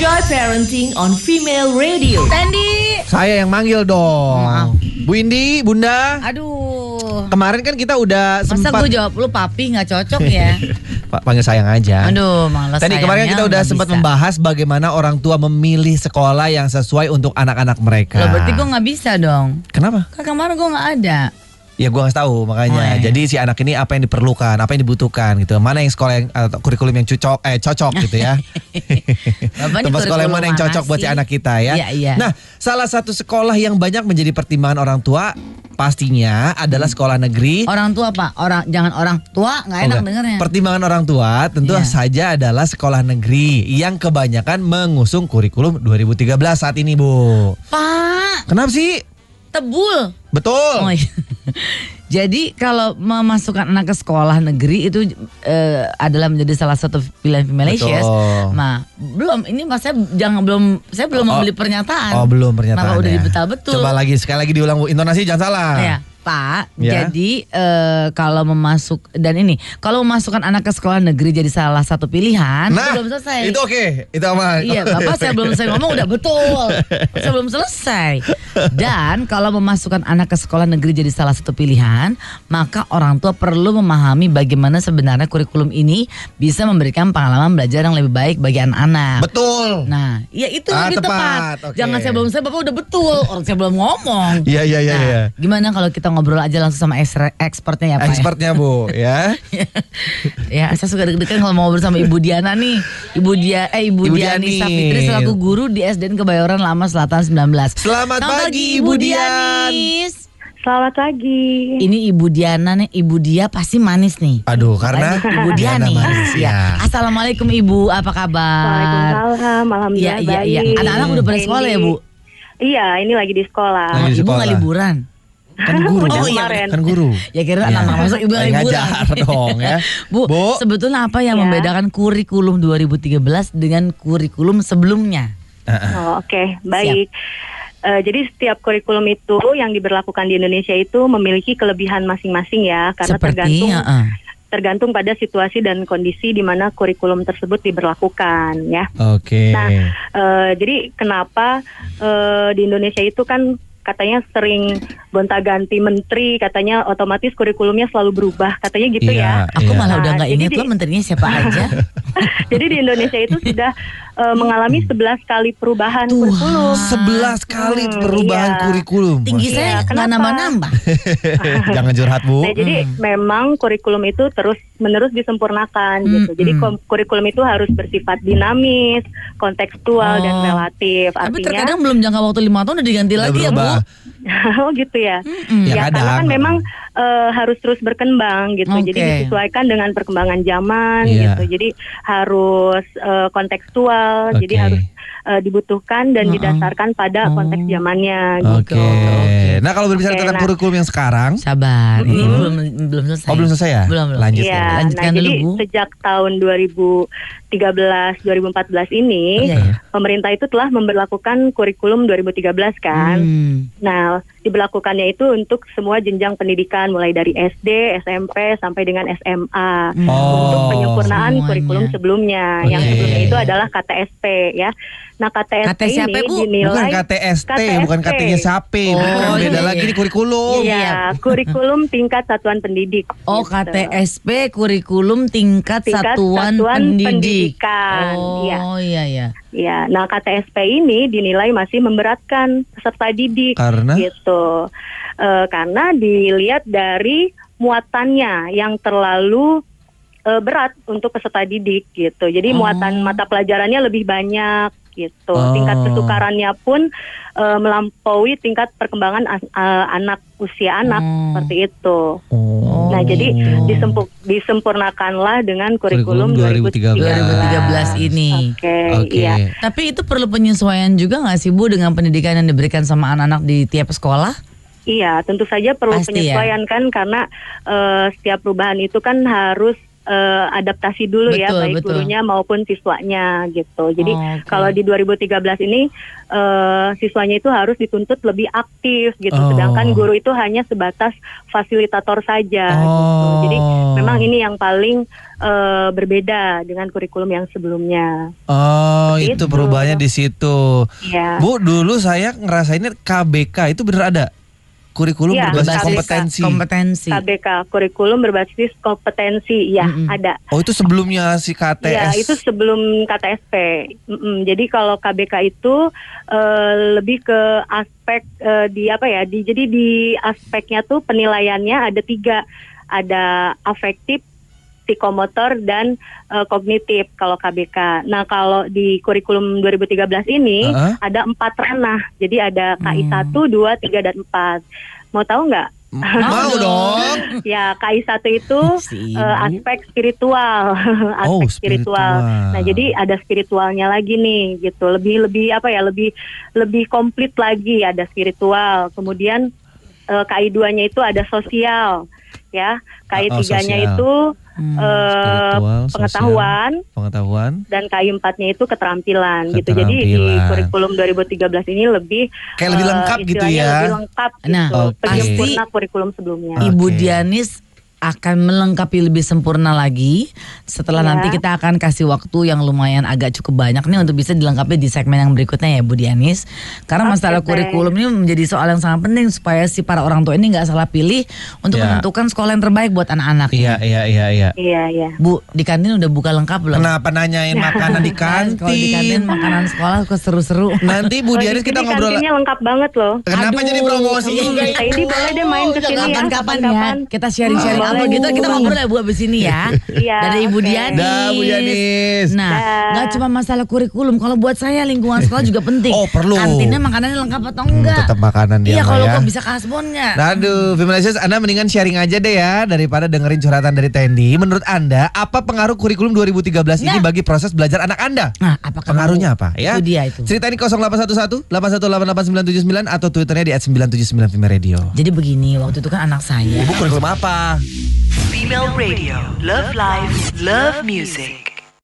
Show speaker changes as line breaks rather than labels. Joy Parenting on Female Radio.
Tandi.
Saya yang manggil dong. Bu Indi, Bunda.
Oh, Aduh.
Kemarin kan kita udah
Masa
sempat
gue jawab lu papi nggak cocok ya?
Pak, panggil sayang aja.
Aduh, malas.
Tadi kemarin
sayangnya
kita udah
nggak
sempat
bisa.
membahas bagaimana orang tua memilih sekolah yang sesuai untuk anak-anak mereka.
Loh, berarti gue nggak bisa dong.
Kenapa?
Kan kemarin gue nggak ada.
Ya gue nggak tahu makanya.
Oh, iya.
Jadi si anak ini apa yang diperlukan, apa yang dibutuhkan gitu. Mana yang sekolah yang atau kurikulum yang cocok eh cocok gitu ya.
Bapaknya
Tempat sekolah yang
kurikulum
mana yang
mana
cocok buat si
sih?
anak kita ya.
Iya, iya.
Nah, salah satu sekolah yang banyak menjadi pertimbangan orang tua pastinya adalah sekolah negeri.
Orang tua pak, orang jangan orang tua nggak enak
Enggak.
dengernya.
Pertimbangan orang tua tentu
Iya.
saja adalah sekolah negeri yang kebanyakan mengusung kurikulum 2013 saat ini, Bu.
Pak,
Kenapa sih?
tebul.
Betul.
Oh, iya. Jadi kalau memasukkan anak ke sekolah negeri itu eh, adalah menjadi salah satu pilihan Malaysia.
Betul.
Nah, belum ini mas saya jangan belum saya belum
Oh,
membeli pernyataan.
Oh, belum pernyataan.
Maka udah
ya.
dibetul betul.
Coba lagi sekali lagi diulang, Bu. Intonasi jangan salah.
Ya, Pak,
Ya.
jadi eh, kalau memasuk dan ini kalau memasukkan anak ke sekolah negeri jadi salah satu pilihan itu
Nah,
belum selesai.
itu oke. Itu aman.
Iya, Bapak saya belum selesai ngomong udah betul. Saya belum selesai. Dan kalau memasukkan anak ke sekolah negeri jadi salah satu pilihan, maka orang tua perlu memahami bagaimana sebenarnya kurikulum ini bisa memberikan pengalaman belajar yang lebih baik bagi anak-anak.
Betul.
Nah, ya itu
Ah,
lebih tepat.
tepat, oke.
Jangan saya belum saya Bapak udah betul, orang saya belum ngomong.
Iya, iya, iya,
Nah,
iya.
Gimana kalau kita ngobrol aja langsung sama ekstra- expertnya ya, Pak? ya?
Expertnya, Bu, ya.
ya, saya suka deg-degan kalau mau ngobrol sama Ibu Diana nih. Ibu Dia eh Ibu,
Ibu
Diani
Diani.
Sapitri selaku guru di SDN Kebayoran Lama Selatan 19.
Selamat pagi, Ibu Dian.
Dianis.
Selamat pagi.
Ini Ibu Diana nih, Ibu Dia pasti manis nih.
Aduh, karena
Lagi Ibu
Diana
Diani.
manis,
Ya.
ya.
Assalamualaikum Ibu, apa kabar?
Waalaikumsalam.
Iya,
Alhamdulillah
iya,
baik.
iya. Anak-anak udah pada
Ini-
sekolah ya, Bu?
Iya, ini lagi di sekolah.
Lagi di
Ibu nggak
sekolah.
liburan?
Kan guru.
Udah
Oh, iya.
kemarin.
Kan guru.
Ya kira anak-anak masuk ibu
Lagi
lagi liburan.
ngajar dong ya.
Bu,
Bu.
sebetulnya apa yang
Ya.
membedakan kurikulum 2013 dengan kurikulum sebelumnya?
Oh, Oke, baik. Eh, jadi setiap kurikulum itu yang diberlakukan di Indonesia itu memiliki kelebihan masing-masing ya, karena
Seperti
tergantung
heeh.
tergantung pada situasi dan kondisi di mana kurikulum tersebut diberlakukan ya.
Oke.
Nah, eh, jadi kenapa eh, di Indonesia itu kan katanya sering gonta-ganti menteri, katanya otomatis kurikulumnya selalu berubah, katanya gitu ya.
Iya,
Aku
iya.
malah udah
Nah,
nggak
jadi
ingat
di-
loh menterinya siapa aja.
Jadi di Indonesia itu sudah eh, mengalami 11 kali perubahan kurikulum.
11 kali
kan Hmm,
perubahan
iya.
kurikulum.
Tinggi saya
Iya,
nggak
kenapa?
nambah-nambah.
Jangan curhat, Bu.
Nah, jadi memang kurikulum itu terus menerus disempurnakan gitu. Jadi
Hmm,
kom- kurikulum itu harus bersifat dinamis, kontekstual dan
Oh.
relatif.
Tapi
Artinya
terkadang belum jangka waktu lima tahun udah diganti
Udah
lagi ya bu.
berubah.
oh gitu ya.
Mm-mm.
Ya,
Ya, karena
kadang.
kan memang eh, harus terus berkembang gitu. Jadi
Oke.
disesuaikan dengan perkembangan zaman
Iya.
gitu. Jadi harus eh, kontekstual, jadi
Oke.
harus eh, dibutuhkan dan
Mm-mm.
didasarkan pada
Oh.
konteks zamannya
Oke.
gitu.
Nah, kalau berbicara
Oke,
tentang
nah.
kurikulum yang sekarang,
Sabar, ini
Mm-mm.
belum belum selesai.
oh belum selesai ya?
Belum, belum.
Lanjut.
Iya,
ya.
lanjutkan
nah jadi
dulu, Bu.
sejak tahun 2013 2014 ini
Iya, iya.
pemerintah itu telah memberlakukan kurikulum 2013 kan.
Hmm.
Nah, diberlakukannya itu untuk semua jenjang pendidikan mulai dari SD, SMP sampai dengan SMA.
Hmm.
Untuk
Oh.
penyempurnaan
Semuanya.
kurikulum sebelumnya, yang
Oke.
sebelumnya itu adalah KTSP ya. Nah, KTSP
KT siapa,
ini
Bu?
Bukan
dinilai
KTST,
KTST.
bukan katanya siapa.
Oh,
bukan
iya,
beda
iya.
lagi di kurikulum.
Iya, kurikulum tingkat satuan pendidik.
Oh
gitu.
KTSP kurikulum tingkat,
Tingkat
satuan,
Satuan
pendidik.
Pendidikan, iya.
Oh iya iya.
Ya, nah KTSP ini dinilai masih memberatkan peserta didik
Karena
gitu. Eh, karena dilihat dari muatannya yang terlalu eh, berat untuk peserta didik gitu. Jadi
Oh.
muatan mata pelajarannya lebih banyak gitu.
Oh.
Tingkat kesukarannya pun eh, melampaui tingkat perkembangan an- eh, anak usia anak
Oh.
seperti itu.
Oh.
Nah, jadi
Oh.
Disempu- disempurnakanlah dengan
Kurikulum
kurikulum,
2013
2013.
ini.
Oke,
Oke.
iya.
Tapi itu perlu penyesuaian juga nggak sih Bu dengan pendidikan yang diberikan sama anak-anak di tiap sekolah?
Iya, tentu saja perlu
Pasti ya.
penyesuaian kan karena eh, setiap perubahan itu kan harus eh, eh, adaptasi dulu ya
Betul,
baik
betul.
gurunya maupun siswanya gitu. Jadi
Oh, oke.
kalau di 2013 ini eh, siswanya itu harus dituntut lebih aktif gitu.
Oh.
Sedangkan guru itu hanya sebatas fasilitator saja gitu.
Oh.
Jadi memang ini yang paling eh, berbeda dengan kurikulum yang sebelumnya.
Oh, itu
Seperti itu.
perubahannya di situ.
Ya.
Bu, dulu saya ngerasainnya KBK itu bener ada kurikulum
Iya,
berbasis
KBK.
kompetensi.
kompetensi.
KBK kurikulum berbasis kompetensi ya
Mm-mm.
ada.
Oh, itu sebelumnya si KTS.
Iya,
Ya itu sebelum KTSP. Mm-mm. Jadi kalau KBK itu eh, lebih ke aspek eh, di apa ya? Di jadi di aspeknya tuh penilaiannya ada tiga, ada afektif, psikomotor dan eh, kognitif kalau KBK. Nah kalau di kurikulum 2013 ini
Heeh.
ada empat ranah. Jadi ada KI 1, 2, 3, dan 4. Mau tahu nggak?
M- Mau dong.
Ya KI 1 itu
Si ibu.
eh, aspek spiritual, aspek
Oh,
spiritual.
spiritual.
Nah, jadi ada spiritualnya lagi nih gitu. Lebih lebih apa ya? Lebih lebih komplit lagi ada spiritual. Kemudian eh, KI 2-nya itu ada sosial ya. KI
Oh,
3-nya
sosial. Hmm,
itu eh,
Spiritual, sosial,
pengetahuan
pengetahuan.
dan KI 4-nya itu keterampilan, gitu. Jadi di
Keterampilan.
kurikulum 2013 ini lebih
Kayak lebih
eh,
lengkap gitu
istilahnya
ya.
Lebih lengkap gitu.
Nah,
oke.
penyempurna kurikulum sebelumnya.
Ibu
Oke.
Dianis akan melengkapi lebih sempurna lagi setelah
Iya.
nanti kita akan kasih waktu yang lumayan agak cukup banyak nih untuk bisa dilengkapi di segmen yang berikutnya ya Bu Dianis karena
Oke,
masalah
Teh.
kurikulum ini menjadi soal yang sangat penting supaya si para orang tua ini nggak salah pilih untuk
Iya.
menentukan sekolah yang terbaik buat
Iya,
anak-anaknya.
iya, iya, iya.
Iya, iya.
Bu di kantin udah buka lengkap belum?
Kenapa nanyain makanan di
Kan, Kalau
Nah,
di kantin
kantin? Nah,
makanan sekolah kok seru-seru.
Nanti Bu
Oh, di
Dianis kita
sini
ngobrol. Iya.
Kantinnya lengkap banget loh.
Kenapa
Aduh,
jadi promosi
kamu
juga
Kak Idi boleh deh main
iya,
ke sini ya.
Kapan-kapan ya. Kita sharing-sharing
Boleh,
apa gitu.
Bu.
Kita ngobrol ya Bu abis ini ya.
Iya,
Dari Ibu
oke.
Dianis.
Dah, Bu Dianis.
Nah,
Dah.
nggak cuma masalah kurikulum. Kalau buat saya lingkungan sekolah juga penting.
Oh, perlu. Hmm,
Kantinnya makanannya lengkap atau enggak.
tetap makanan dia
Iya,
mah
kalau
ya. Nah,
kok bisa kasbonnya.
Aduh, Femalicious, Anda mendingan sharing aja deh ya daripada dengerin curhatan dari Tendi. Menurut Anda, apa pengaruh kurikulum 2013 ini
Nah.
bagi proses belajar anak Anda?
Nah, apakah
Pengaruhnya
mau-
apa ya?
Itu dia itu.
Cerita ini 0811 8188979 atau twitternya di @979 Female Radio.
Jadi begini, waktu itu kan anak saya
Ibu kurikulum apa?
Female Radio. Love life, love music.